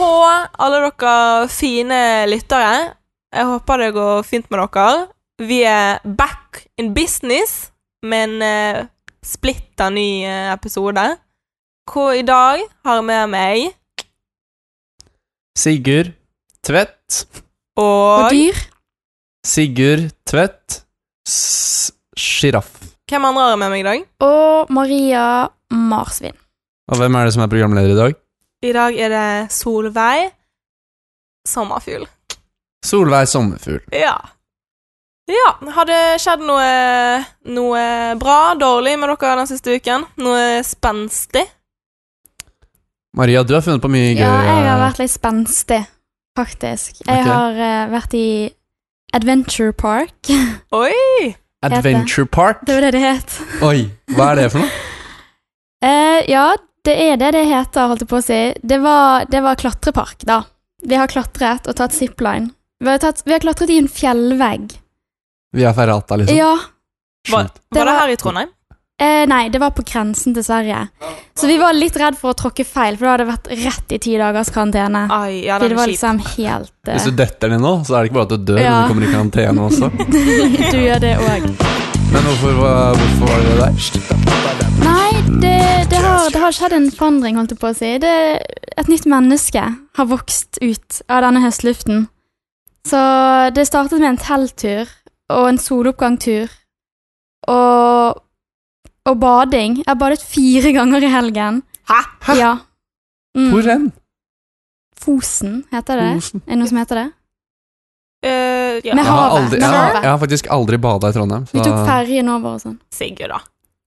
alle dere fine lyttere. Jeg håper det går fint med dere. Vi er back in business med en eh, splitter ny eh, episode. Hvor i dag har jeg med meg Sigurd Tvedt. og, Og dyr. Sigurd Tvedt. Sjiraff. Hvem andre har jeg med meg i dag? Og Maria Marsvin. Og hvem er det som er programleder i dag? I dag er det Solveig Sommerfugl. Solveig Sommerfugl. Ja. Ja, har det skjedd noe, noe bra, dårlig med dere den siste uken? Noe spenstig? Maria, du har funnet på mye gøy. eh, Ja, jeg har vært litt spenstig, faktisk. Jeg Ok. har eh, vært i Adventure Park. det Oi! Adventure Park. var eh, det det het. Oi, hva er det for noe? Eh, ja, det er det det heter, holdt jeg på å si. Det var, det var klatrepark, da. Vi har klatret og tatt zipline. Vi har, tatt, vi har klatret i en fjellvegg. Vi har ferrata, liksom. Ja, Var, Sjukt. var Det det var- her i Trondheim? eh, nei, det var på grensen til Sverige. Så vi var litt redd for å tråkke feil, for da hadde det vært rett i ti dagers karantene. Ai, ja, den Fordi det er var kjip. liksom helt eh, Hvis du detter ned nå, så er det ikke bare at du dør, Ja. men du kommer i karantene også. eh, Du gjør det òg. Men hvorfor, var- hvorfor var det det der? Nei, det, det, har, det har skjedd en forandring, holdt jeg på å si. Det, et nytt menneske har vokst ut av denne høstluften. Så det startet med en telttur og en soloppgangtur og, og bading. Jeg har badet fire ganger i helgen. Hæ? Hæ? Ja. Mm. Hvor hen? Fosen, heter det. Osen. Er det noe som heter det? Eh, ja. Med Jeg har, havet. aldri, Med jeg, har, havet. jeg har faktisk aldri bada i Trondheim. Vi tok Så ferjen over og sånn. Sigurd, da.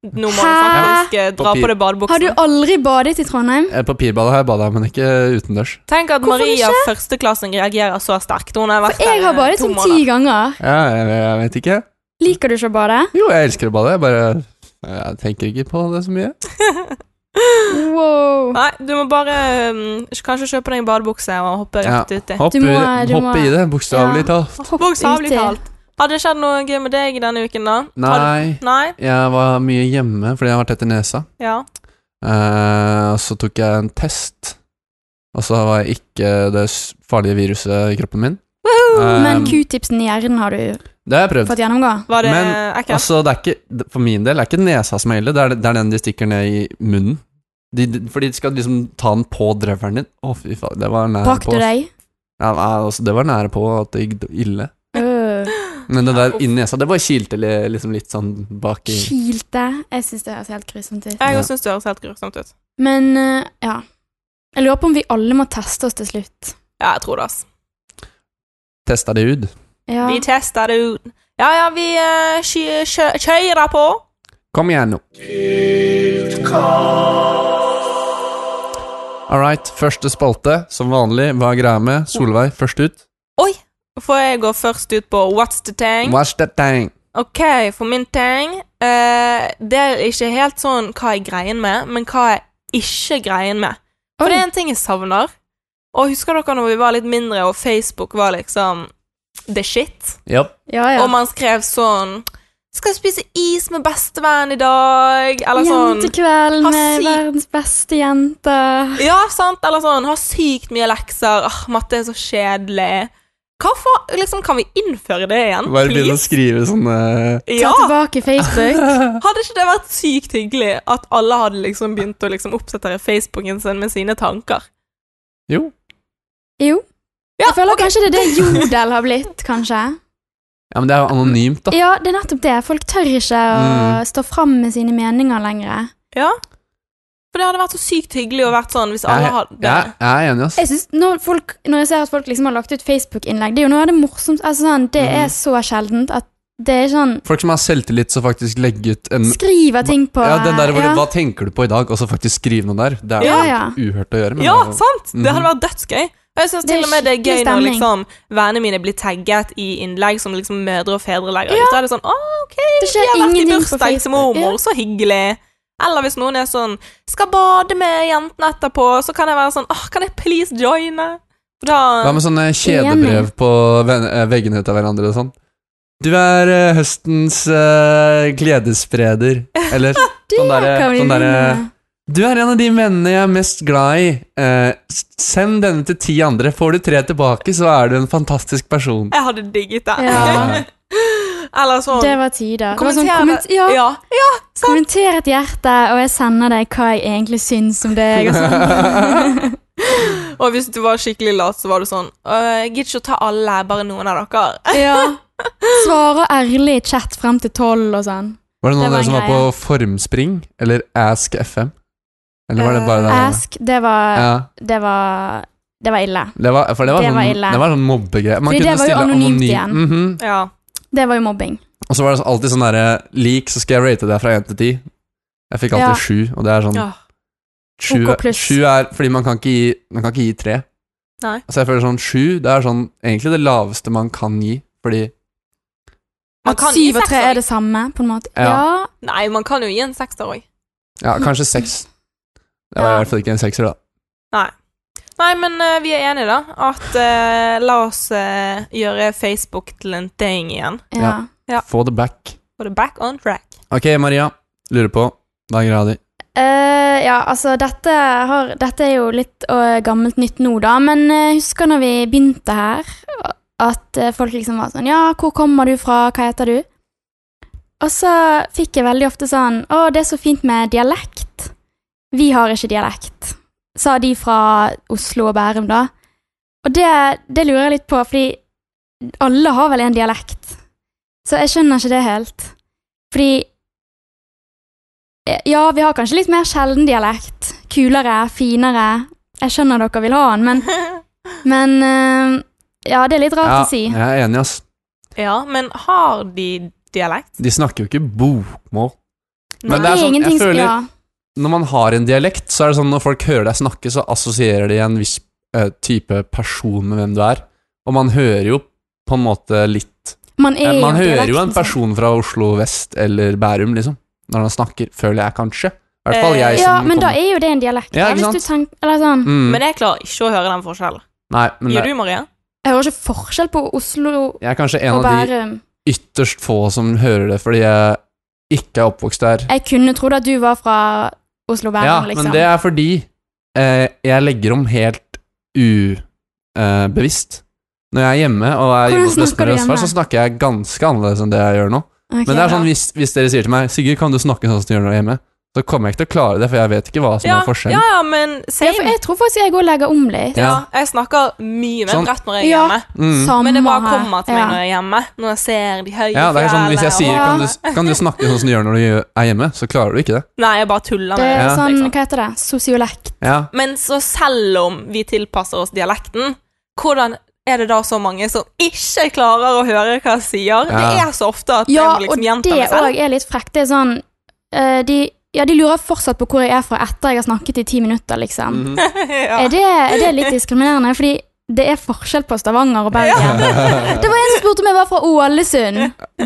Nå må du Hæ? faktisk eh, dra Papir. på deg Har du badebuksene. aldri badet i Trondheim? Eh, Papirbada har jeg bada, men ikke utendørs. Tenk at Hvorfor Maria, førsteklassen, reagerer så sterkt. Hun har vært Jeg her har i badet to som måneder. ti ganger. Ja, jeg, jeg vet ikke. Liker du ikke å bade? Jo, jeg elsker å bade. Jeg bare jeg tenker ikke på det så mye. Wow. Nei, du må bare mm, kanskje kjøpe deg en badebukse og hoppe Ja. rett uti. Hopp, Du må- i- du hopp må- i det, bokstavelig talt. Hopp Bokstavelig uti. talt. Har det skjedd noe gøy med deg denne uken, da? Har Nei, du- Nei? jeg var mye hjemme fordi jeg har vært etter nesa. Ja. Eh, og så tok jeg en test, og så var jeg ikke det s- farlige viruset i kroppen min. Eh, Men q-tipsen i hjernen har du det har jeg prøvd. fått gjennomgå? Var det Men- ekkelt? Altså, det er ikke, for min del er ikke nesa som gjelder, det er, det er den de stikker ned i munnen. De, de, fordi de skal liksom ta den på dreveren din. Å, fy faen, det var nære Brakk på. du deg? Ja, nei, altså, det var nære på at det gikk ille. Øh, Men det der inni nesa, det bare kilte li- liksom litt sånn bak i kilte? Jeg syns det høres helt grusomt ut. Jeg Ja. òg syns det høres helt grusomt ut. Men eh, ja. Jeg lurer på om vi alle må teste oss til slutt. Ja, jeg tror det, ass. Testa det ut. Ja. Vi tester det ut. Ja, ja, vi eh, kjø- kjø- kjører på. Kom igjen nå. All right, første spalte. Som vanlig, hva er greia med? Solveig, først ut. Får jeg gå først ut på What's the thing? Watch that thing. Ok, for min ting eh, Det er ikke helt sånn hva jeg greien med, men hva jeg ikke greien med. For Oi. det er en ting jeg savner. Og husker dere når vi var litt mindre, og Facebook var liksom the shit? Yep. ja, ja. Og man skrev sånn Skal jeg spise is med bestevenn i dag? Eller sånn Jentekveld Ha med sykt- verdens beste jenter. Ja, sant? Eller sånn Har sykt mye lekser. Ah, matte er så kjedelig. Hvorfor liksom, Kan vi innføre det Oh, igjen? Bare begynne å skrive sånne Ta Ja! tilbake Facebook. Hadde ikke det vært sykt hyggelig at alle hadde liksom begynt å liksom oppsettere Facebooken sin med sine tanker? Jo. Jo. Ja, Jeg føler ok. kanskje det er det Jodel har blitt, kanskje. Ja, men det er jo anonymt, da. Ja, det er nettopp det. Folk tør ikke å Mm. stå fram med sine meninger lenger. Ja. For det hadde vært så sykt hyggelig å vært sånn hvis alle Jeg, hadde jeg, jeg er enig, ass. Jeg synes når, folk, når jeg ser at folk liksom har lagt ut Facebook-innlegg, det er jo noe av det morsomste altså sånn, Det Mm. er så sjeldent at det er sånn Folk som har selvtillit, som faktisk legger ut en Skriver ting på Mm. Ja, den der hvor du, ja. Hva tenker du på i dag? Og så faktisk skrive noe der. Det er jo Ja, ja. uhørt å gjøre. men Ja, det er jo- sant? Det Mhm. hadde vært dødsgøy. Og jeg syns Det er til og med det er gøy skikkelig når stemning. liksom vennene mine blir tagget i innlegg som liksom mødre og fedre legger ut. Da er det sånn Å, OK, Det vi skjer har vært i ingenting på bursdag til Facebook. mormor, Ja. så hyggelig. Eller hvis noen er sånn Skal bade med jentene etterpå, så kan jeg være sånn Åh, kan jeg please joine? Da Hva med sånne kjedebrev på ven- eh, veggene til hverandre og sånn? Du er eh, høstens eh, gledesspreder. Eller Det sånn derre kan vi sånn der, begynne med. Du er en av de mennene jeg er mest glad i. Eh, s- send denne til ti andre. Får du tre tilbake, så er du en fantastisk person. Eh, Jeg hadde digget det. Ja. Eller sånn Det var tider. Det var sånn, Kommenter komment, det. ja, ja. kommenter et hjerte, og jeg sender deg hva jeg egentlig syns om deg. Og sånn. Og hvis du var skikkelig lat, så var det sånn «Øh, Jeg gidder ikke å ta alle, bare noen av dere. ja. Svarer ærlig i chat frem til tolv og sånn. Var det noen Det av var dere en som var på Formspring eller Ask FM? Eller var det bare det? Eh, Ask, det var, Ja, det var, det var ille. det var, for det var, Det var sånn, ille. det var sånn mobbegreie. Man Fordi kunne det var jo stille anonymt anonym- igjen. Mhm. Ja. Det var jo mobbing. Og så var det alltid sånn derre Lik, så skal jeg rate deg fra 1 til 10 Jeg fikk Ja. alltid 7 Og det er sånn Ja. 7, OK pluss. er Fordi man kan ikke gi Man kan ikke gi 3 Nei. Så jeg føler sånn 7 Det er sånn Egentlig det laveste man kan gi Fordi Man At kan gi syv og tre sekser. er det samme, på en måte. Ja. Ja, Nei, man kan jo gi en sekser òg. Ja, Mhm. kanskje 6 Det var i Ja. hvert fall ikke en 6er da Nei, men eh, vi er enige, da. At eh, la oss eh, gjøre Facebook til en thing igjen. ja. Ja. Ja. Få det back Få det back on track. Ok, Maria Lurer på Hva er greia di? Eh, ja, altså dette, har, dette er jo litt eh, gammelt nytt nå, da. Men eh, husker når vi begynte her, at eh, folk liksom var sånn Ja, hvor kommer du fra? Hva heter du? Og så fikk jeg veldig ofte sånn Å, det er så fint med dialekt. Vi har ikke dialekt, sa de fra Oslo og Bærum, da. Og det, det lurer jeg litt på, fordi alle har vel en dialekt. Så jeg skjønner ikke det helt. Fordi Eh, Ja, vi har kanskje litt mer sjelden dialekt. Kulere, finere. Jeg skjønner dere vil ha den, men, men eh, Ja, det er litt rart Ja, å si. jeg er enig ass ja, men har de dialekt? De snakker jo ikke bokmål Nei. Men det er sånn Jeg ingenting som- føler ja. når man har en dialekt, så er det sånn når folk hører deg snakke, så assosierer de en viss eh, type person med hvem du er. Og man hører jo på en måte litt Man, er Eh, Man jo hører jo dialekten liksom. en sin. person fra Oslo vest eller Bærum, liksom, når han snakker, føler jeg kanskje. I hvert fall Eh, jeg som Ja, men da kommer- er jo det en dialekt. Ja, da, ikke hvis du tenker, eller sånn. mm, Men jeg klarer ikke å høre den forskjellen. Nei, men Gjør det, du, Maria? Jeg hører ikke forskjell på Oslo jeg er kanskje en og av de Bærum. ytterst få som hører det fordi jeg ikke er oppvokst der. Jeg kunne trodd at du var fra Oslo og Bærum, Ja, liksom. men det er fordi eh, jeg legger om helt ubevisst. Når jeg er hjemme og er Hvordan hjemme hos snakker du bestemor og bestefar, så hjemme? snakker jeg ganske annerledes enn det jeg gjør nå. Ok, Men det er sånn, ja. hvis, hvis dere sier til meg 'Sigurd, kan du snakke sånn som du gjør når du er hjemme?' Så kommer jeg ikke til å klare det, for jeg vet ikke hva som Ja, er ja, forskjellen. ja, men ja, for same. Jeg tror faktisk jeg òg legger om litt. Ja. Ja, jeg snakker mye mer Sånn. bredt når jeg er Ja. hjemme. Mm. Samme Men det bare her. kommer til meg Ja. når jeg er hjemme. Når jeg ser de høye Ja, det er sånn, Hvis jeg sier fjellene og- kan du, 'Kan du snakke sånn som du gjør når du gjør- er hjemme', så klarer du ikke det. Nei, jeg bare tuller med Det er Ja. sånn, liksom. hva heter det? Sosiolekt. Ja, Men så selv om vi tilpasser oss dialekten, hvordan er det da så mange som ikke klarer å høre hva jeg sier? Det Ja. er så ofte at Ja, jeg må liksom og gjenta meg det selv. òg er litt frekt. Det er sånn eh, de, Ja, de lurer fortsatt på hvor jeg er fra etter jeg har snakket i ti minutter, liksom. Mm. ja. er, det, er det litt diskriminerende? Fordi det er forskjell på Stavanger og Bergen. Det var en som spurte om jeg var fra Ålesund.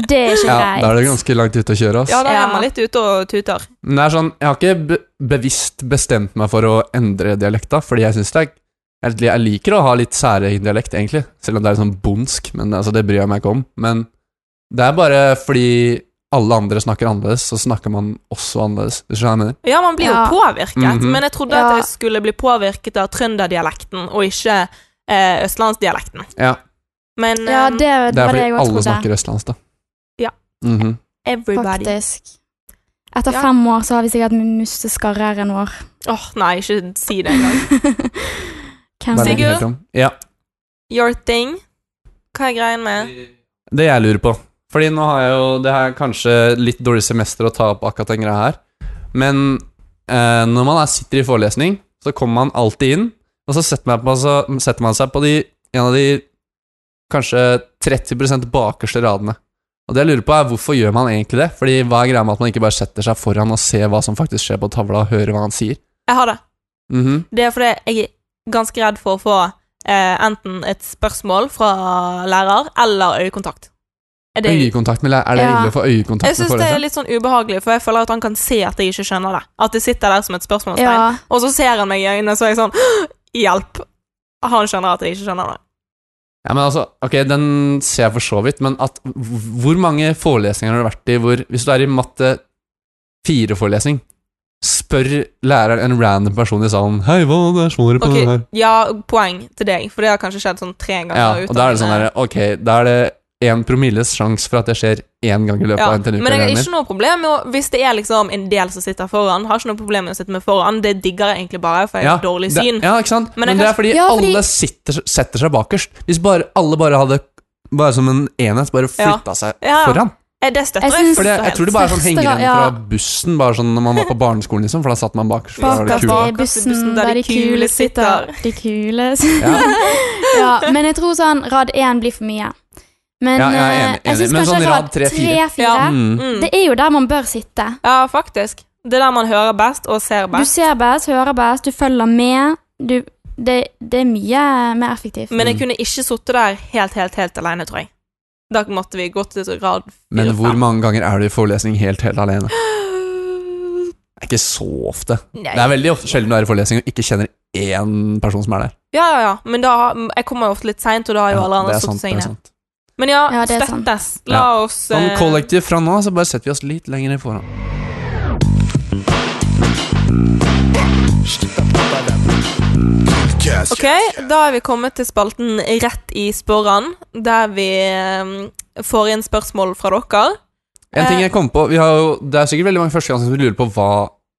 Det er ikke ja greit. Da er du ganske langt ute å kjøre. Ass. ja, da Ja. er man litt ute og tuter. Men det er sånn, jeg har ikke be bevisst bestemt meg for å endre dialekta, fordi jeg synes det er jeg, jeg liker å ha litt særegen dialekt, egentlig, selv om det er sånn bondsk, men altså, det bryr jeg meg ikke om. Men det er bare fordi alle andre snakker annerledes, så snakker man også annerledes. Hvis du skjønner hva jeg mener? Ja, man blir Ja. jo påvirket, Mhm. men jeg trodde Ja. at jeg skulle bli påvirket av trønderdialekten og ikke eh, østlandsdialekten. Ja, Men Ja, eh, det, det er det, var det fordi jeg alle også trodde. snakker østlands, da. Ja. Mhm. everybody Åh, Faktisk. Etter Ja. fem år så har vi sikkert mistet skarreren vår. nei, ikke si det engang. Hvem Bare vet? Sigurd? helt om. Ja. Your thing. Hva er greien med Det jeg lurer på. Fordi nå har jeg jo Det her er kanskje litt dårlig semester å ta opp akkurat den greia her. Men eh, når man er, sitter i forelesning, så kommer man alltid inn, og så setter man, på, så setter man seg på de, en av de kanskje 30 bakerste radene. Og det jeg lurer på er Hvorfor gjør man egentlig det? Fordi Hva er greia med at man ikke bare setter seg foran og ser hva som faktisk skjer på tavla, og hører hva han sier? Jeg har det. Mhm. Det er fordi jeg er ganske redd for å få eh, enten et spørsmål fra lærer eller øyekontakt. Er det, Øyekontakt med lærer, Er det Ja. ille å få øyekontakt jeg med syns det er foreleseren? litt sånn ubehagelig, for jeg føler at han kan se at jeg ikke skjønner det. At det sitter der som et spørsmålstegn. Ja. Og så ser han meg i øynene, så er jeg sånn Hjelp! Han skjønner at jeg ikke skjønner det. Ja, men altså, ok, Den ser jeg for så vidt, men at, hvor mange forelesninger har du vært i hvor Hvis du er i matte 4-forelesning, spør læreren en random person i salen Hei, hva er det som er på Ok, det her? ja, poeng til deg, for det har kanskje skjedd sånn tre ganger. Ja, uten og da er det sånn at- der, Ok, da er det én promilles sjanse for at det skjer én gang i løpet Ja, av men jeg har NTNU-karrieren min. ikke noe problem med å, hvis det er liksom en del som sitter foran. Har ikke noe problem med å sitte med foran. Det digger jeg egentlig bare, for jeg Ja, har dårlig det- syn. Ja, ikke sant? Men jeg Men, det kan- er fordi Ja, fordi- alle sitter, setter seg bakerst. Hvis bare, alle bare hadde bare som en enhet bare Ja. flytta seg Ja. foran. Eh, Det støtter Jeg jeg, synes- For fullt det, og jeg helt. tror det bare er sånn Første henger gang, igjen ja. fra bussen, bare sånn når man var på barneskolen, liksom, for da satt man bakerst. for da var det Bakerst, kule. Bakerst i kule. bussen der de kule sitter. De kule Ja. ja, Men jeg tror sånn rad én blir for mye. Men Ja, jeg er eh, enig, enig. jeg syns Men kanskje sånn rad rad tre, fire. tre-fire Mm. Mm. Det er jo der man bør sitte. Ja, faktisk. Det er der man hører best og ser Du best. ser best, hører best, du følger med. Du, det, det er mye mer effektivt. Mm. Men jeg kunne ikke sittet der helt, helt, helt alene, tror jeg. Da måtte vi gått til grad Men fire, hvor fem. mange ganger er du i forelesning helt, helt alene? Det er ikke så ofte. Nei. Det er veldig ofte, sjelden du er i forelesning og ikke kjenner én person som er der. Ja, ja, ja. Men da, jeg kommer jo ofte litt seint, og da har jo Ja, alle andre det er satt seg sant, det er ned. sant. Men ja, Ja, det er sant. støttes. La oss Som eh, kollektiv fra nå, så bare setter vi oss litt lenger i forhånd. Ok, da er vi kommet til spalten Rett i sporene, der vi eh, får inn spørsmål fra dere. En Eh. ting jeg kom på, vi har jo, Det er sikkert veldig mange førsteganger som lurer på hva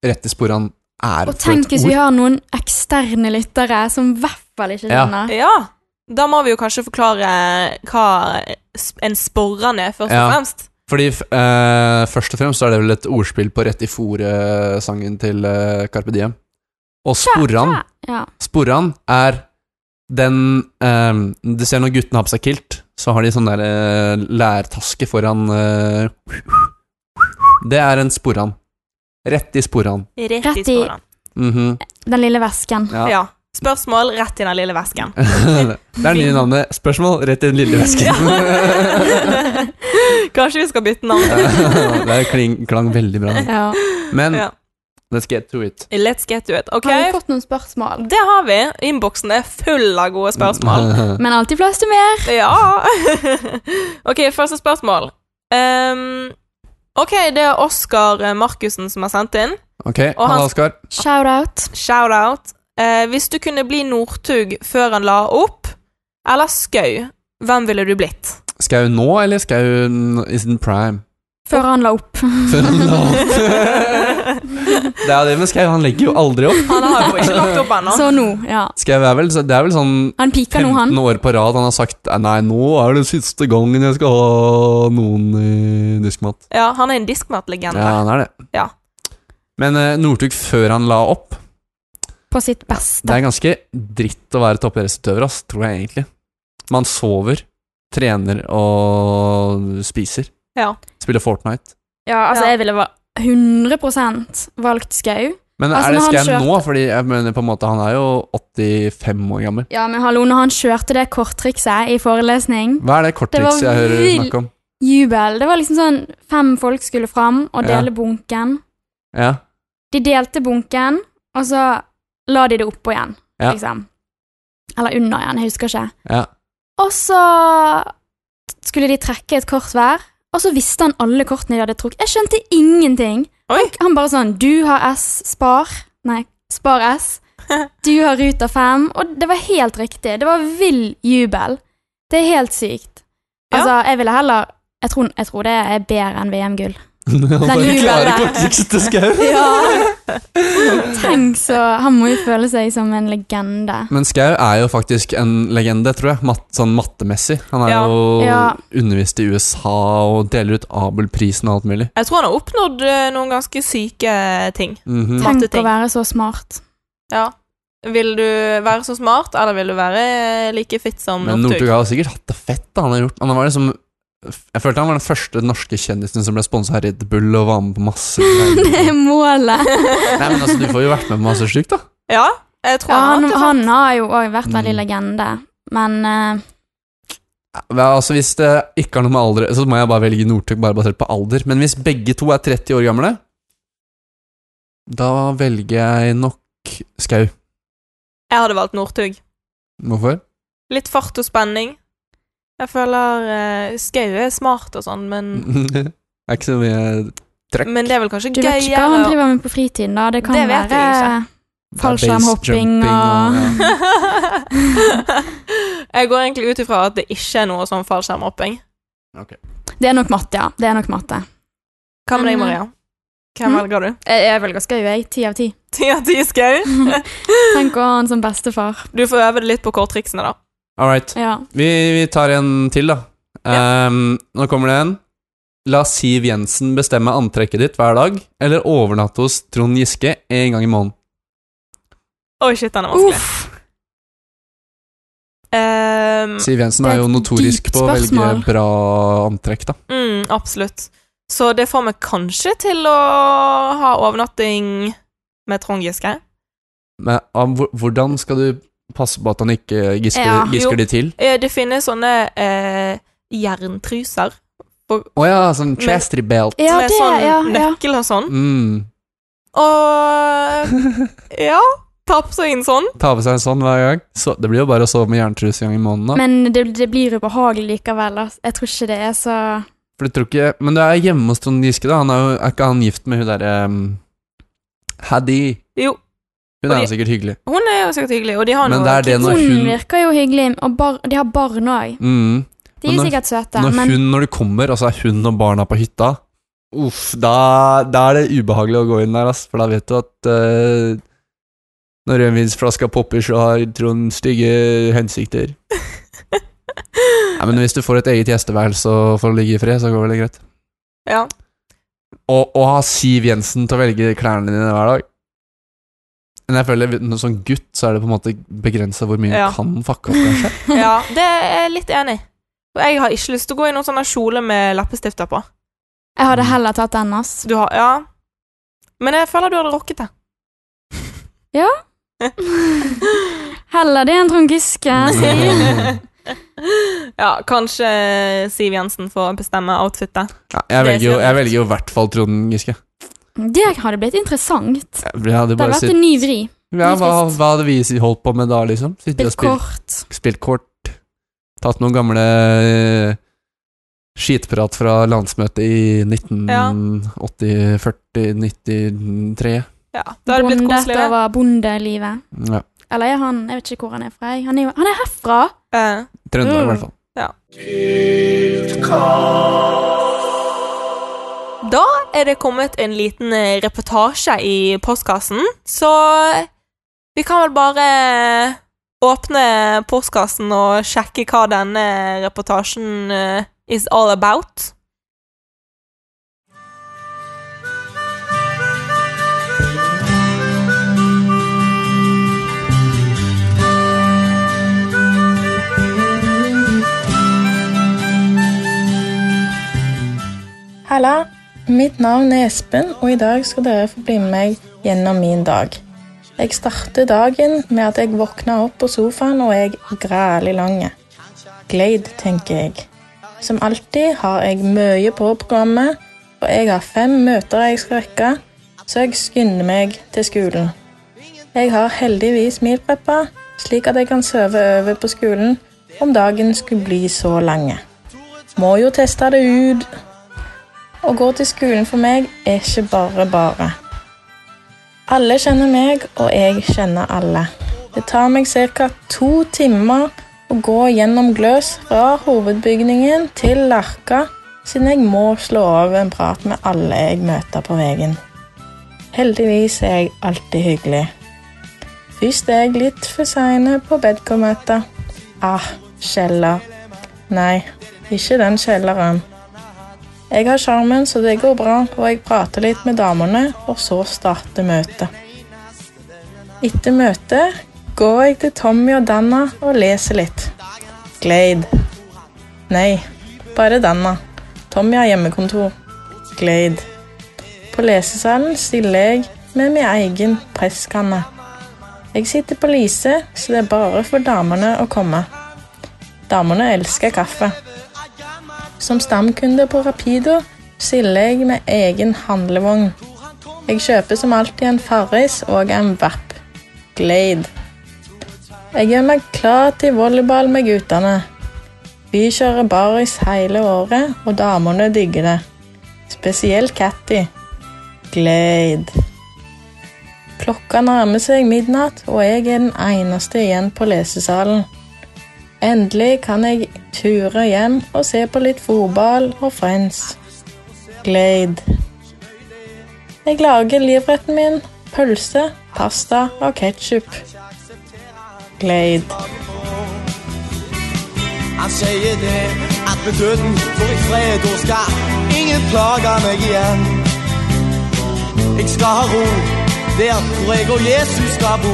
rett i sporene er. Og tenk hvis vi har noen eksterne lyttere som i hvert fall ikke Ja. skjønner. Ja, da må vi jo kanskje forklare hva sp- en sporran er, først og Ja. fremst. Fordi f- eh, Først og fremst så er det vel et ordspill på rett i fòret-sangen til eh, Carpe Diem. Og sporene Ja. Sporene er den ehm, Du ser når guttene har på seg kilt, så har de sånn der eh, lærtaske foran eh, Det er en sporan. Rett i sporan. Rett, Rett i i- sporene. Mhm. Den lille vesken. Ja. Ja. Spørsmål rett i den lille vesken. det er nye navnet. Spørsmål rett i den lille vesken. Kanskje vi skal bytte navn. det er kling, klang veldig bra. Ja. Men Ja. let's get to it. Let's get to it. Ok, Har vi fått noen spørsmål? det har vi. Innboksen er full av gode spørsmål. Men alltid plass til mer. Ja. ok, første spørsmål. Ehm, ok, det er Oskar Markussen som har sendt inn. ok, Og han- Halla, Oskar. Shout-out. Shout-out. Eh, hvis du kunne bli Northug før han la opp, eller Skau, hvem ville du blitt? Skal hun nå, eller skal hun i sin prime? Før han la opp. Før han la opp. Det er det med Skau, han legger jo aldri opp. Han har jo ikke lagt opp ennå. Så nå, ja. Skau er vel, det er vel sånn Han piker nå, han. 15 år på rad han har sagt Nei, nå er det siste gangen jeg skal ha noen i diskmat. Ja, han er en diskmatlegende. Ja, han er det. Ja. Men eh, Northug før han la opp På sitt Det beste. er ganske dritt å være toppidrettsutøver, ass, tror jeg egentlig. Man sover, trener og spiser. Ja. Spiller Fortnite. Ja, altså, Ja. jeg ville va- 100 valgt Skau. Men Altså, er det når han Skau nå? kjørte- Fordi jeg mener på en måte han er jo 85 år gammel. Ja, men hallo, når han kjørte det korttrikset i forelesning Hva er det Det var korttrikset jeg hører vill- snakke om? Jubel. Det var liksom sånn fem folk skulle fram og Ja. dele bunken. Ja, De delte bunken, og så la de det oppå igjen, Ja. liksom. Eller under igjen, jeg husker ikke. ja. Og så skulle de trekke et kort hver, og så visste han alle kortene de hadde trukket. Jeg skjønte ingenting. Oi. Han bare sånn Du har S, spar. Nei, spar S. Du har Ruter 5. Og det var helt riktig. Det var vill jubel. Det er helt sykt. Ja. Altså, jeg ville heller jeg tror, jeg tror det er bedre enn VM-gull. Han bare jubelen. klarer korttrikset til Skau. Tenk så Han må jo føle seg som en legende. Men Skau er jo faktisk en legende, tror jeg. Matt, sånn mattemessig. Han er Ja. jo Ja. undervist i USA og deler ut Abel-prisen og alt mulig. Jeg tror han har oppnådd eh, noen ganske syke ting. Mhm. Takk. Tenk Matteting. å være så smart. Ja. Vil du være så smart, eller vil du være eh, like fit som Men Northug Northug? har jo sikkert hatt det fett. da Han har gjort han var liksom, Jeg følte han var den første norske kjendisen som ble sponsa av Red Bull og var med på masse Det greier. er målet. Nei, men altså, Du får jo vært med på masse sjukt, da. Ja, jeg tror Ja, han, han, har sånn. han har jo òg vært veldig Mm. legende, men eh, Ja, altså Hvis det ikke har noe med alder Så må jeg bare velge Northug bare basert på alder. Men hvis begge to er 30 år gamle, da velger jeg nok Skau. Jeg hadde valgt Northug. Hvorfor? Litt fart og spenning. eh, Mm, Jeg føler uh, Skau er smart og sånn, men Det er ikke så mye trøkk. Men det er vel kanskje Du vet ikke hva han gøyere å driver med på fritiden, da. Det kan Det vet jeg være fallskjermhopping Det er base jumping og- ja. Jeg går egentlig ut ifra at det ikke er noe sånn fallskjermhopping. Det er nok matte, ja. Det er nok matte. Hva med deg, Men, eh, Maria? Hvem mm. velger du? Jeg, jeg velger Skau, jeg. Ti av ti. Ti av ti skau. Tenk å ha han som bestefar. Du får øve deg litt på korttriksene, da. All right. Ja. Vi, vi tar en til, da. Ehm, nå kommer det en. La Siv Jensen bestemme antrekket ditt hver dag, eller overnatte hos Trond Giske én gang i måneden. Oi, shit, den er vanskelig. Uff. Ehm, Siv Jensen Mm. Det er er jo et notorisk dypt på å velge spørsmål. bra antrekk, da. mm, absolutt. Så det får meg kanskje til å ha overnatting med Trond Giske. Men ah, hvor- hvordan skal du passe på at han ikke gisker, Ja, jo. gisker de til? Eh, Det finnes sånne eh, jerntruser Å ja, sånn chastity belt. Ja, med det, sånn ja, ja. nøkkel og sånn. Mm. Og ja, ta på seg en sånn. Ta på seg en sånn hver gang. Så, det blir jo bare å sove med jerntruse en gang i måneden, da. Men det, det blir ubehagelig likevel. ass. Jeg tror ikke det er så For du tror ikke Men det er hjemme hos Trond Giske, da. Han er, jo, er ikke han gift med hun derre um, Haddy? Jo. Hun Og er de- jo sikkert hyggelig. Hun er jo sikkert hyggelig, og de har Men noe det er det kids. når Hun hun- virker jo hyggelig, og bar, de har barn òg. Mm. De er Men jo når- sikkert søte, Når men hun, når du kommer, og så er hun og barna på hytta Uff, da, da er det ubehagelig å gå inn der, ass. For da vet du at eh, når rødvinsflaska popper, så har Trond stygge hensikter. Nei, men hvis du får et eget gjesteværelse og får ligge i fred, så går det greit. Ja. Og, og ha Siv Jensen til å velge klærne dine hver dag. Men jeg føler når sånn gutt, så er det på en måte begrensa hvor mye Ja. du kan fucke opp. kanskje. ja, det er jeg litt enig i. Og Jeg har ikke lyst til å gå i noen sånne kjole med leppestifter på. jeg hadde heller tatt den, ass. Du har, ja. Men jeg føler du hadde rocket det. Heller det enn Trond Giske. sier jeg. ja, kanskje Siv Jensen får bestemme outfitet. Ja, jeg, Det velger jo, sier jeg alt. velger jo i hvert fall Trond Giske. Det hadde blitt interessant. Jeg hadde Det hadde bare vært sitt, en ny vri. ja, hva, trist. hva hadde vi si- holdt på med da, liksom? Sittet og Spilt spilt, kort. spilt kort. Tatt noen gamle eh, skitprat fra landsmøtet i 1980, 40, 93. Ja, det hadde blitt Bondet koselig. det. over bondelivet. Ja. Eller er han Jeg vet ikke hvor han er fra. jeg. Han er, jo, han er herfra! Eh, Trøndelag, i Mm. hvert fall. Da er det kommet en liten eh, reportasje i postkassen, så vi kan vel bare åpne postkassen og sjekke hva denne reportasjen eh, is all about. Halla! Mitt navn er Espen, og i dag skal dere få bli med meg gjennom min dag. Jeg starter dagen med at jeg våkner opp på sofaen og jeg er grælig lang. Glade, tenker jeg. Som alltid har jeg mye på programmet, og jeg har fem møter jeg skal rekke, så jeg skynder meg til skolen. Jeg har heldigvis mealpreppa, slik at jeg kan sove over på skolen om dagen skulle bli så lang. Må jo teste det ut. Å gå til skolen for meg er ikke bare bare. Alle kjenner meg, og jeg kjenner alle. Det tar meg ca. to timer å gå gjennom Gløs fra hovedbygningen til Larka, siden jeg må slå av en prat med alle jeg møter på veien. Heldigvis er jeg alltid hyggelig. Først er jeg litt for sein på Bedcom-møtet. Ah, kjeller. Nei, ikke den kjelleren. Jeg har sjarmen, så det går bra, og jeg prater litt med damene, og så starter møtet. Etter møtet går jeg til Tommy og Danna og leser litt. Glade. Nei, bare Danna. Tommy har hjemmekontor. Glade. På lesesalen stiller jeg med min egen presskanne. Jeg sitter på Lise, så det er bare for damene å komme. Damene elsker kaffe. Som stamkunde på Rapido stiller jeg med egen handlevogn. Jeg kjøper som alltid en Farris og en Vapp. Glade. Jeg gjør meg klar til volleyball med guttene. Vi kjører baris hele året, og damene digger det. Spesielt Catty. glød. Klokka nærmer seg midnatt, og jeg er den eneste igjen på lesesalen. Endelig kan jeg ture hjem og se på litt fotball og friends. Glød. Jeg lager livretten min, pølse, pasta og ketsjup. Glød. Han sier det at med døden får jeg fred, og skal ingen plage meg igjen. Jeg skal ha ro der hvor jeg og Jesus skal bo.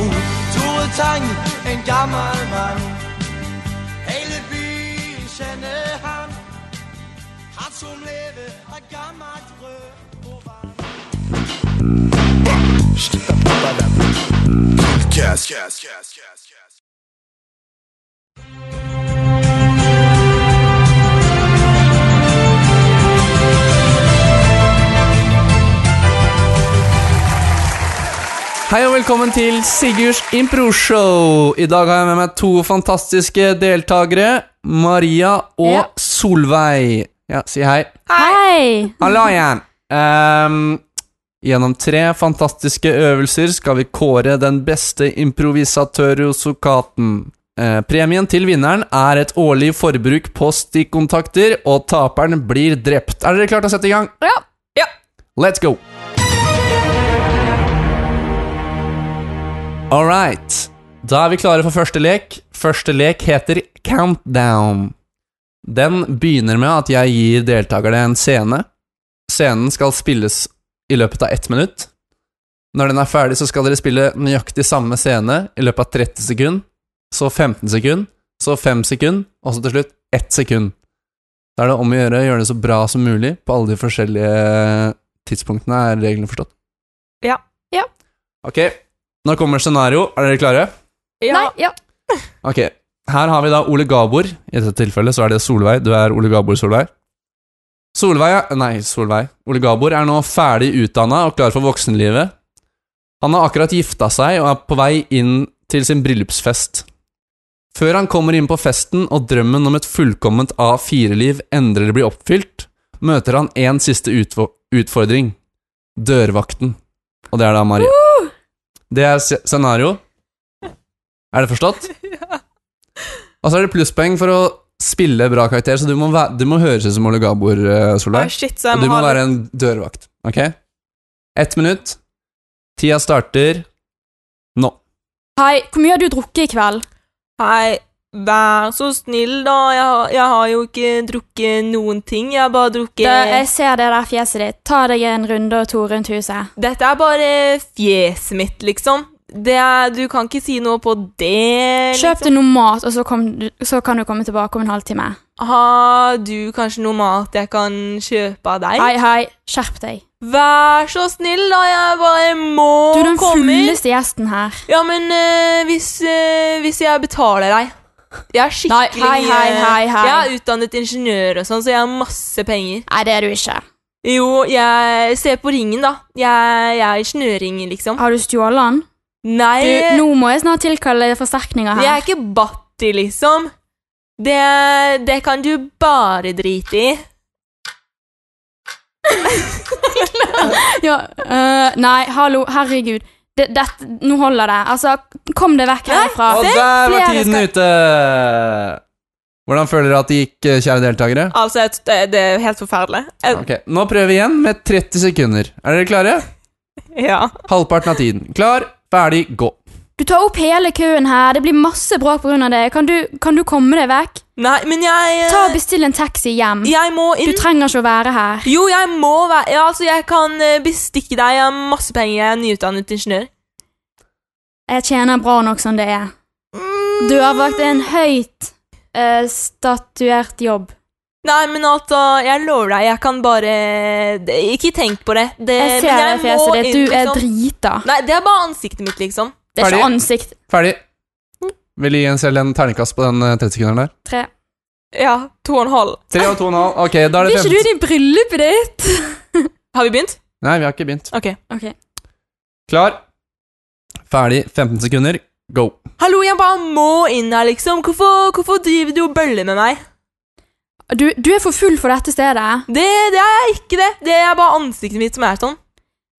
Tore Tang, en gammel mann. Hele byen kjenner han. Han som lever av gammelt brød og vann. Hei og velkommen til Sigurds impro-show. I dag har jeg med meg to fantastiske deltakere. Maria og Ja. Solveig. Ja, si hei. Hei! Hallo igjen. Ehm, gjennom tre fantastiske øvelser skal vi kåre den beste improvisatøriosokaten. Eh, premien til vinneren er et årlig forbruk på stikkontakter, og taperen blir drept. Er dere klare til å sette i gang? Ja. ja. Let's go! All right. Da er vi klare for første lek. Første lek heter Countdown. Den begynner med at jeg gir deltakerne en scene. Scenen skal spilles i løpet av ett minutt. Når den er ferdig, så skal dere spille nøyaktig samme scene i løpet av 30 sekund, så 15 sekund, så 5 sekund, og så til slutt 1 sekund. Da er det om å gjøre å gjøre det så bra som mulig på alle de forskjellige tidspunktene, er reglene forstått? Ja. Ja. Ok, nå kommer scenario. Er dere klare? ja. Nei, ja. Ok, her har vi da Ole Gabor. I dette tilfellet så er det Solveig. Du er Ole Gabor, Solveig. Solveig er- Nei, Solveig. Ole Gabor er nå ferdig utdanna og klar for voksenlivet. Han har akkurat gifta seg og er på vei inn til sin bryllupsfest. Før han kommer inn på festen og drømmen om et fullkomment A4-liv endelig blir oppfylt, møter han én siste utvo- utfordring. Dørvakten. Og det er da Marie. Det er sce- scenario. Er det forstått? Og så er det plusspoeng for å spille bra karakter, så du må, væ- du må høres ut som Ole Gabor, eh, Nei, Solveig. shit, så jeg Og du må må ha være en dørvakt. Ok? Ett minutt. Tida starter nå. Hei, hvor mye har du drukket i kveld? Hei, vær så snill, da. Jeg har, jeg har jo ikke drukket noen ting. Jeg har bare drukket Da, jeg ser det der fjeset ditt. Ta deg en runde og to rundt huset. Dette er bare fjeset mitt, liksom. Det er, du kan ikke si noe på det. Kjøp deg noe mat, og så, kom, du- så kan du komme tilbake om en halvtime. Har du kanskje noe mat jeg kan kjøpe av deg? Hei, hei, skjerp deg. Vær så snill, da. Jeg bare må Du er den komme inn. fulleste gjesten her. Ja, men eh, hvis, eh, hvis jeg betaler deg Jeg er Nei, skikkelig hei, hei, eh, hei, hei. Jeg er utdannet ingeniør og sånn, så jeg har masse penger. Nei, det er du ikke. Jo, jeg ser på ringen, da. Jeg, jeg er ingeniørringen, liksom. Har du stjålet den? Nei, Ah, Du, nå må jeg snart tilkalle forsterkninger jeg Eh. er her. ikke Batti, liksom. Det, det kan du bare drite i. Ja, øh, nei, hallo, herregud. Det, dette- nå holder det. Altså, kom deg vekk herfra. Og der var flere tiden skal- ute! Hvordan føler dere at det gikk, eh, kjære deltakere? Altså, jeg t- det, det er helt forferdelig. Jeg, Ok, Nå prøver vi igjen med 30 sekunder. Er dere klare? ja. Halvparten av tiden. Klar, ferdig, gå. Du tar opp hele køen her. Det blir masse bråk pga. det. Kan du, kan du komme deg vekk? Nei, men jeg eh, Ta og Bestill en taxi hjem. Jeg må Du inn. trenger ikke å være her. Jo, jeg må være ja, Altså, jeg kan eh, bestikke deg. Jeg har masse penger. Jeg er nyutdannet ingeniør. Jeg tjener bra nok som det er. Dørvakt er en høyt eh, statuert jobb. Nei, men altså, jeg lover deg, jeg kan bare det- Ikke tenk på det. det Jeg ser Eh, men det fjeset må ditt. inn, Du er liksom. drita. Nei, det er bare ansiktet mitt, liksom. Det er Ferdig. ikke ansikt. Ferdig. Vil du gi en selv en terningkast på den eh, 30 sekunderen der? Tre. Ja, to og en halv. Tre og to og en halv. Ok, da er Blir det ikke du 15 i bryllupet ditt? Har vi begynt? Nei, vi har ikke begynt. Ok. Ok. Klar, ferdig, 15 sekunder, go. Hallo, jeg bare må inn her, liksom. Hvorfor, hvorfor driver du og bøller med meg? Du, du er for full for dette stedet. Det, det er jeg ikke, det. Det er bare ansiktet mitt som er sånn.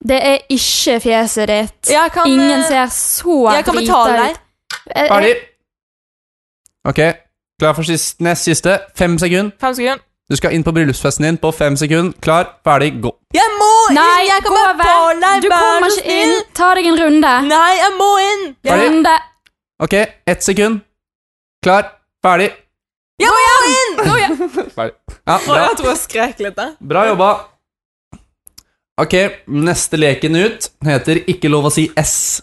Det er ikke fjeset ditt. Jeg kan, Ingen eh, ser så Jeg kan betale drita deg. ut. Eh, eh, Ferdig. Ok, klar for sist, nest siste. Fem sekunder. Fem sekunder. Du skal inn på bryllupsfesten din på fem sekunder. Klar, ferdig, gå. Jeg må inn! Nei, jeg kan gå bare vekk! betale! Du vær kommer så ikke snill. inn. Ta deg en runde. Nei, jeg må inn! Ferdig. Runde. Ok, ett sekund. Klar, ferdig. Jeg må jo inn! Ferdig. Ja, bra. jeg tror jeg skrek litt. Jeg. Bra jobba. Ok, neste leken ut heter Ikke lov å si S.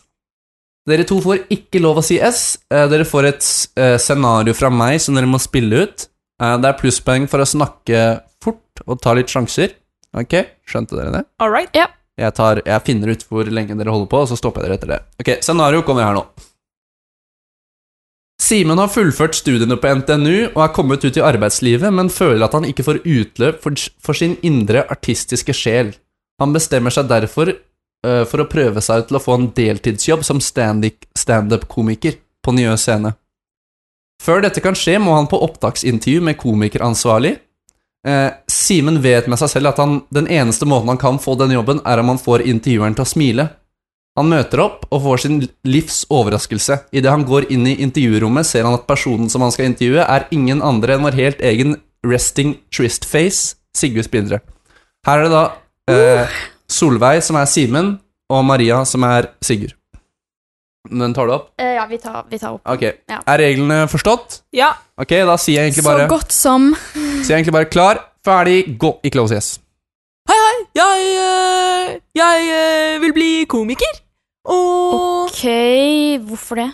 Dere to får ikke lov å si S. Eh, Dere får et eh, scenario fra meg som dere må spille ut. Eh, Det er plusspoeng for å snakke fort og ta litt sjanser. Ok, skjønte dere det? All right. Jeg, tar, jeg finner ut hvor lenge dere holder på, og så stopper jeg dere etter det. Ok, scenario kommer her nå. Simen har fullført studiene på NTNU og er kommet ut i arbeidslivet, men føler at han ikke får utløp for, for sin indre artistiske sjel. Han bestemmer seg derfor eh, for å prøve seg til å få en deltidsjobb som standik- standup-komiker på Njø scene. Før dette kan skje, må han på opptaksintervju med komikeransvarlig, Eh, Simen vet med seg selv at han, den eneste måten han kan få den jobben, er om han får intervjueren til å smile. Han møter opp og får sin livs overraskelse. Idet han går inn i intervjurommet, ser han at personen som han skal intervjue, er ingen andre enn vår helt egen resting trist-face, Sigve Spindre. Her er det da Uh. eh, Solveig, som er Simen, og Maria, som er Sigurd. Den tar du opp? Eh, ja, vi tar, vi tar opp. Ok. Ja. Er reglene forstått? Ja. Ok, da sier jeg egentlig Så bare, godt som. sier jeg egentlig bare klar, ferdig, gå. Ikke lov å si yes. Jeg, øh, jeg øh, vil bli komiker. Og Ok, hvorfor det?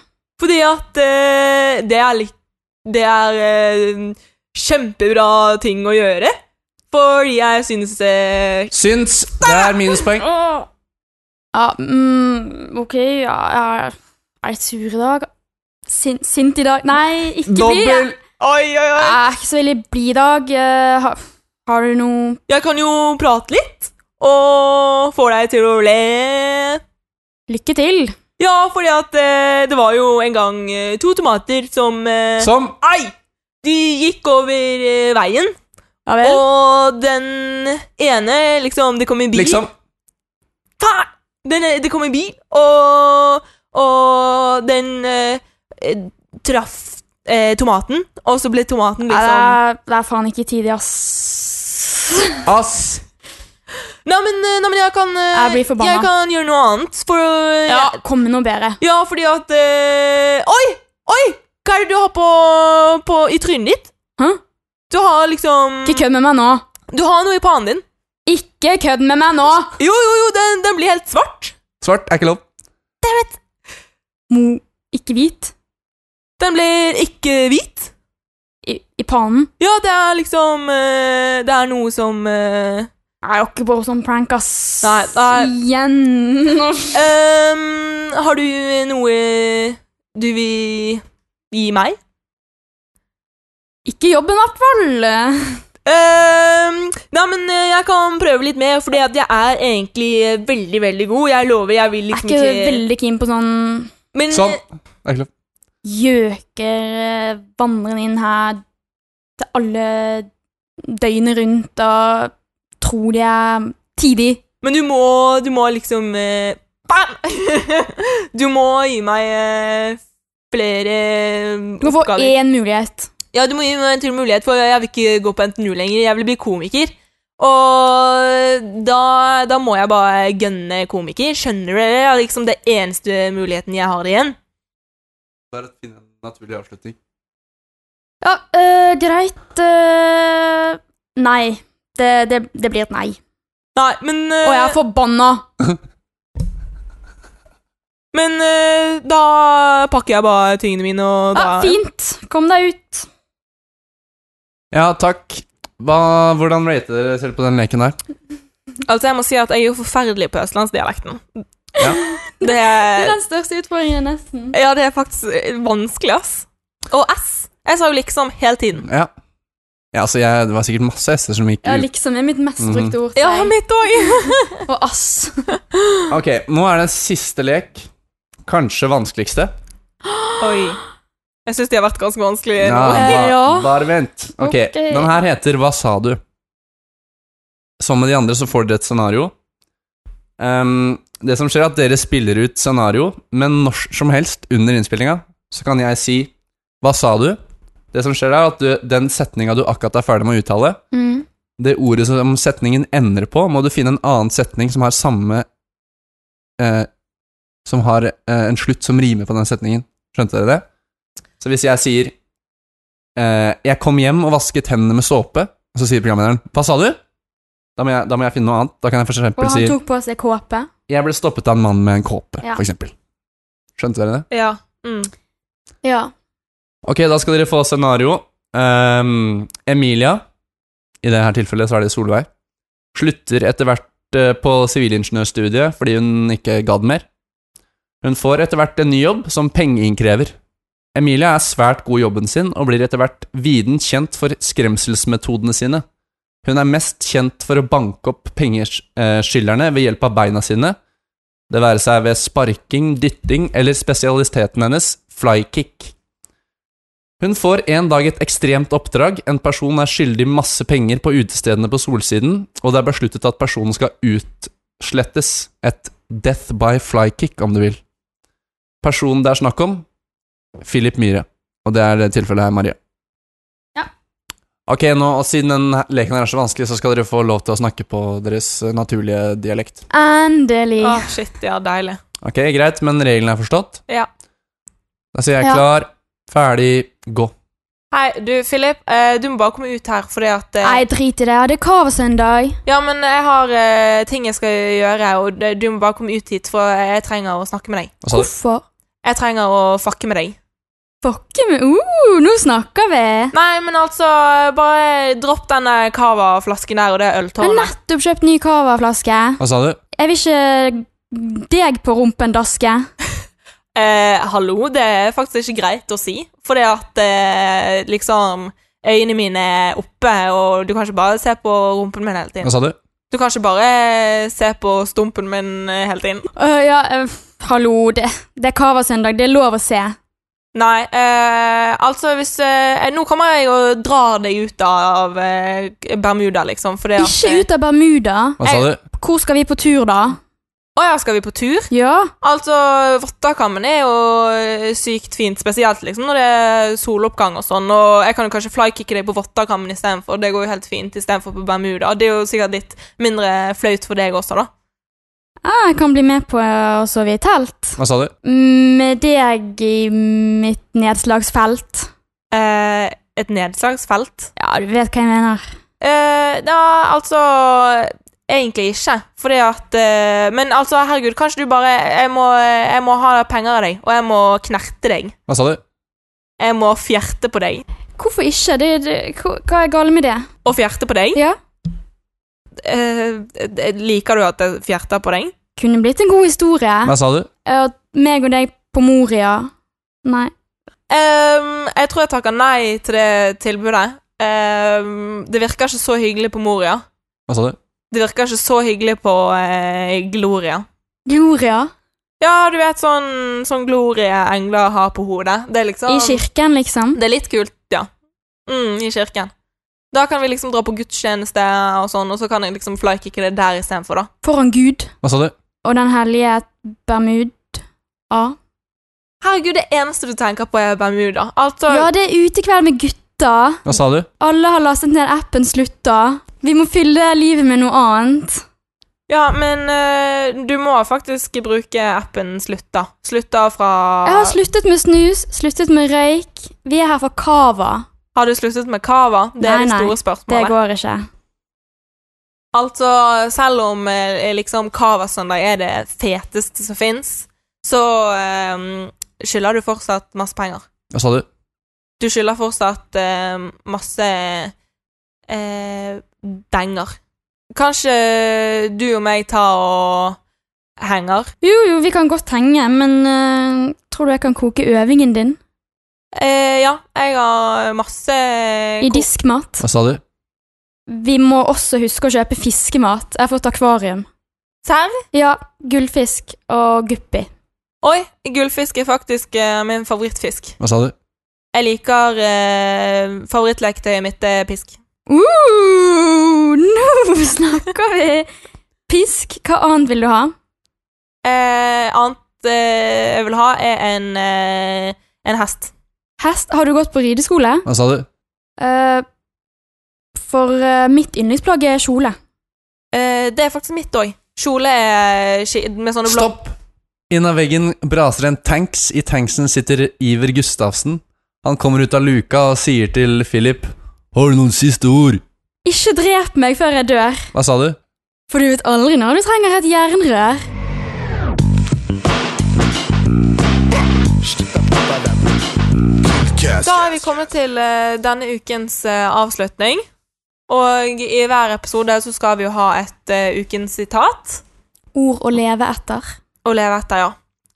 Fordi at eh, det er litt Det er eh, kjempebra ting å gjøre. Fordi jeg synes eh, Syns det er minuspoeng. Ja, mm, ok, ja, ja. Er jeg sur i dag? Sin, sint i dag? Nei, ikke bli det. Dobbel. Oi, oi, oi. Jeg er ikke så veldig blid i dag. Eh, har, har du noe Jeg kan jo prate litt. Og får deg til å le. Lykke til. Ja, fordi at eh, det var jo en gang eh, to tomater som eh, Som Ai! De gikk over eh, veien, Ja og den ene liksom Det kom en bil. liksom Faen! Den, eh, det kom en bil, og, og den eh, eh, traff eh, tomaten, og så ble tomaten Nei, liksom det, er, det er faen ikke tidig, ass. ass. Nei, men, eh, nei, men jeg kan eh, Jeg blir forbanna. Jeg kan gjøre noe annet, for eh, Ja, kom med noe bedre. ja, fordi at eh, Oi! Oi! Hva er det du har på, på i trynet ditt? Hæ? Du har liksom Ikke kødd med meg nå. Du har noe i pannen din. Ikke kødd med meg nå! Jo, jo, jo, den, den blir helt svart. Svart er ikke lov. Mo, ikke hvit. Den blir ikke hvit. I, i panen. Ja, det er liksom eh, Det er noe som eh, Nei, jeg har ikke bare sånn prank, ass. Nei, nei. Igjen. Uff. Ehm, har du noe du vil gi meg? Ikke jobben, i hvert fall. Ehm, nei, men eh, jeg kan prøve litt mer, fordi at jeg er egentlig eh, veldig, veldig god. Jeg lover, jeg vil Jeg er liksom ikke ikke veldig keen på sånn Men Sånn. eh, Det er ikke lov. gjøker eh, vandrende inn her til alle døgnet rundt og tror de er tidig. Men du må, du må liksom eh, Bam! du må gi meg eh, flere Du kan få oppgaver. én mulighet. Ja, du må gi meg en til mulighet, for jeg vil ikke gå på NTNU lenger. Jeg vil bli komiker. Og da, da må jeg bare gønne komiker. Skjønner du det? Det er liksom det eneste muligheten jeg har igjen. Det er å finne en naturlig avslutning. Ja, øh, greit. øh, nei. Det, det, det blir et nei. Nei, men eh, Og jeg er forbanna. Men eh, da pakker jeg bare tingene mine, og da Ja, fint. Kom deg ut. Ja, takk. Hva, hvordan rater dere selv på den leken der? Altså, jeg må si at jeg er jo forferdelig på østlandsdialekten. Ja. Det Eh, er, største utfordringen, nesten. ja, det er faktisk vanskelig, ass. Og S. Jeg sa jo liksom hele tiden. Ja, ja altså jeg, Det var sikkert masse S-er som gikk Ja, ut. liksom er mitt mest Mhm. brukte ord. Ja, mitt òg. Og ass. Ok, Nå er det siste lek. Kanskje vanskeligste. Oi. Jeg syns de har vært ganske vanskelige. Ja, nå. ba, Ja. bare vent. Ok, Ok. Den her heter Hva sa du? Som med de andre så får dere et scenario. Ehm, det som skjer er at dere spiller ut scenario, men når som helst under innspillinga, så kan jeg si Hva sa du? Det som skjer er at du, den setninga du akkurat er ferdig med å uttale, Mm. det ordet som setningen ender på, må du finne en annen setning som har samme eh, Som har eh, en slutt som rimer på den setningen. Skjønte dere det? Så hvis jeg sier eh, 'Jeg kom hjem og vasket hendene med såpe', og så sier programlederen 'Hva sa du?' Da må, jeg, da må jeg finne noe annet. Da kan jeg for Og eksempel si han tok på seg kåpe. 'Jeg ble stoppet av en mann med en kåpe', Ja. for eksempel. Skjønte dere det? Ja. Mm. Ja. Ok, da skal dere få scenario. Ehm, Emilia, i det her tilfellet så er det Solveig, slutter etter hvert eh, på sivilingeniørstudiet fordi hun ikke gadd mer. Hun får etter hvert en ny jobb som pengeinnkrever. Emilia er svært god i jobben sin og blir etter hvert viden kjent for skremselsmetodene sine. Hun er mest kjent for å banke opp pengeskylderne ved hjelp av beina sine, det være seg ved sparking, dytting eller spesialiteten hennes, flykick. Hun får en dag et ekstremt oppdrag. En person er skyldig masse penger på utestedene på Solsiden, og det er besluttet at personen skal utslettes. Et death by flykick, om du vil. Personen det er snakk om, Philip Myhre. Og det er det tilfellet her, Maria. Ja. Ok, nå, og siden den her- leken her er så vanskelig, så skal dere få lov til å snakke på deres eh, naturlige dialekt. Endelig. Å, shit, ja, deilig. Ok, greit, men reglene er forstått? Ja. Da sier jeg Ja. klar, ferdig, gå. Hei, du, Philip, eh, du må bare komme ut her, fordi at eh, Nei, drit i det. Det er kavesøndag. Ja, men jeg har eh, ting jeg skal gjøre, og det- du må bare komme ut hit, for jeg trenger å snakke med deg. Hva sa du? Hvorfor? Jeg trenger å fucke med deg. Fucke med Uh, nå snakker vi! Nei, men altså, bare dropp denne cava-flasken der og det Jeg har øltårnet. nettopp kjøpt ny cavaflaske. Hva sa du? Jeg vil ikke deg på rumpen daske. Eh, hallo, det er faktisk ikke greit å si, fordi at eh, liksom Øynene mine er oppe, og du kan ikke bare se på rumpen min hele tiden. Hva sa du? Du kan ikke bare se på stumpen min eh, hele tiden. Øh, ja, øh, hallo, det, det er cavasøndag. Det er lov å se. Nei, eh, altså hvis eh, Nå kommer jeg og drar deg ut av eh, Bermuda, liksom. Fordi at, Ikke ut av Bermuda. Hva sa du? Hvor skal vi på tur, da? Å ja, skal vi på tur? Ja, Altså, Vottakammen er jo eh, sykt fint, spesielt liksom når det er soloppgang og sånn. Og jeg kan jo kanskje flykicke deg på Vottakammen istedenfor. Det går jo helt fint istedenfor på Bermuda. Det er jo sikkert litt mindre flaut for deg også, da. ah, jeg kan bli med på eh, å sove i telt. Mm, Hva sa du? Med deg i mitt nedslagsfelt. Eh, et nedslagsfelt. Ja, du vet hva jeg mener. Eh, ja, altså Egentlig ikke. Fordi at eh, Men altså, herregud, kanskje du bare jeg må, jeg må ha penger av deg, og jeg må knerte deg. Hva sa du? Jeg må fjerte på deg. Hvorfor ikke? Det, det, hva hva er galt med det? Og fjerte på deg? Ja. Eh, eh, liker du at jeg fjerter på deg? Kunne blitt en god historie. Hva sa du? At meg og deg på Moria. Nei. Ehm, jeg tror jeg takker nei til det tilbudet. Ehm, det virker ikke så hyggelig på Moria. Hva sa du? Det virker ikke så hyggelig på eh, Gloria. Gloria. Ja, du vet sånn, sånn glorie engler har på hodet. Det er liksom I kirken, liksom. Det er litt kult, ja. Mm, I kirken. Da kan vi liksom dra på gudstjeneste og sånn, og så kan jeg liksom flykicke det der istedenfor, da. Foran Gud Hva sa du? og den hellige Bermud. Ja. Herregud, det eneste du tenker på, er Bermuda. Altså ja, det er utekveld med gutta. Hva sa du? Alle har lastet ned appen Slutta. Vi må fylle livet med noe annet. Ja, men eh, du må faktisk bruke appen Slutta. Slutta fra Jeg har sluttet med snus, sluttet med røyk. Vi er her for cava. Har du sluttet med cava? Det Nei, er det nei, store Det spørsmålet. går ikke. Altså, selv om eh, liksom cavasøndag er det feteste som fins, så eh, skylder du fortsatt masse penger. Hva sa du? Du skylder fortsatt eh, masse eh, denger. Kanskje du og meg tar og henger? Jo, jo, vi kan godt henge, men øh, tror du jeg kan koke øvingen din Eh, ja, jeg har masse i diskmat? Hva sa du? Vi må også huske å kjøpe fiskemat. Jeg har fått akvarium. Serr? Ja, gullfisk og guppi. Oi, gullfisk er faktisk eh, min favorittfisk. Hva sa du? Jeg liker eh, favorittleketøyet mitt er pisk. Uh, nå snakker vi! Pisk, hva annet vil du ha? Eh, annet eh, jeg vil ha, er en, eh, en hest. Hest, har du gått på rideskole? Hva sa du? Eh, for eh, mitt yndlingsplagg er kjole. Eh, det er faktisk mitt òg. Kjole er ski- med sånne blå Stopp! Inn av veggen braser en tanks. I tanksen sitter Iver Gustavsen. Han kommer ut av luka og sier til Philip Har du noen siste ord? Ikke drep meg før jeg dør, Hva sa du? for du vet aldri når du trenger et jernrør. Da er vi kommet til eh, denne ukens eh, avslutning. Og i hver episode så skal vi jo ha et eh, ukens sitat Ord å leve etter. å leve etter, ja.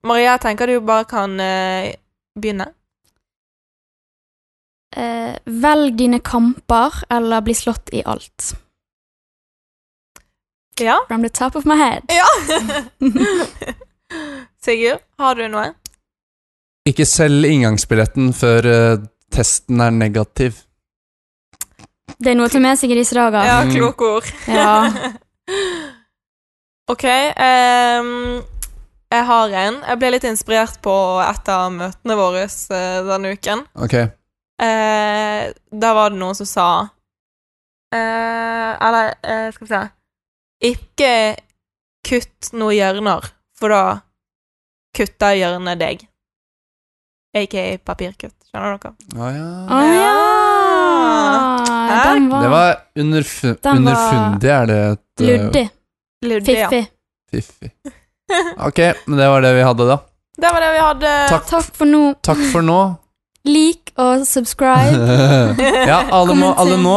Maria, jeg tenker du bare kan eh, begynne. Eh, velg dine kamper eller bli slått i alt. Ja. From the top of my head. Sigurd, har du noe? Ikke selg inngangsbilletten før eh, testen er negativ. Det er noe å ta med seg i disse dager. Ja, Mm. kloke ord. Ja. OK. ehm, jeg har en. Jeg ble litt inspirert på et av møtene våre eh, denne uken. Ok. Eh, da var det noen som sa eh, Eller, eh, skal vi se Ikke kutt noen hjørner, for da kutter hjørnet deg. Aka papirkutt. Skjønner dere? Ah, ja. Å ja! Hæ? Den var, Det var underf Den var- underfundig, er det et eh, luddig. Ludde, ja. Fiffig. Fiffig. Ok, men det var det vi hadde, da. Det var det vi hadde. Takk, Takk for nå. takk for nå. Lik og subscribe. ja, alle, må, Kommenter. alle nå,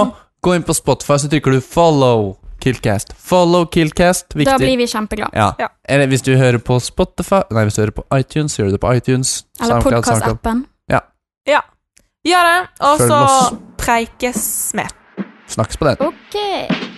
gå inn på Spotify, så trykker du 'follow Killcast'. Follow Killcast, Da viktig. blir vi kjempeglade. Ja. Ja. Eller hvis du hører på Spotify Nei, hvis du hører på iTunes, gjør du det på iTunes. Eller SoundCloud, SoundCloud. podkastappen. Gjør det, og Følg så oss. preikes vi. Snakkes på den. OK.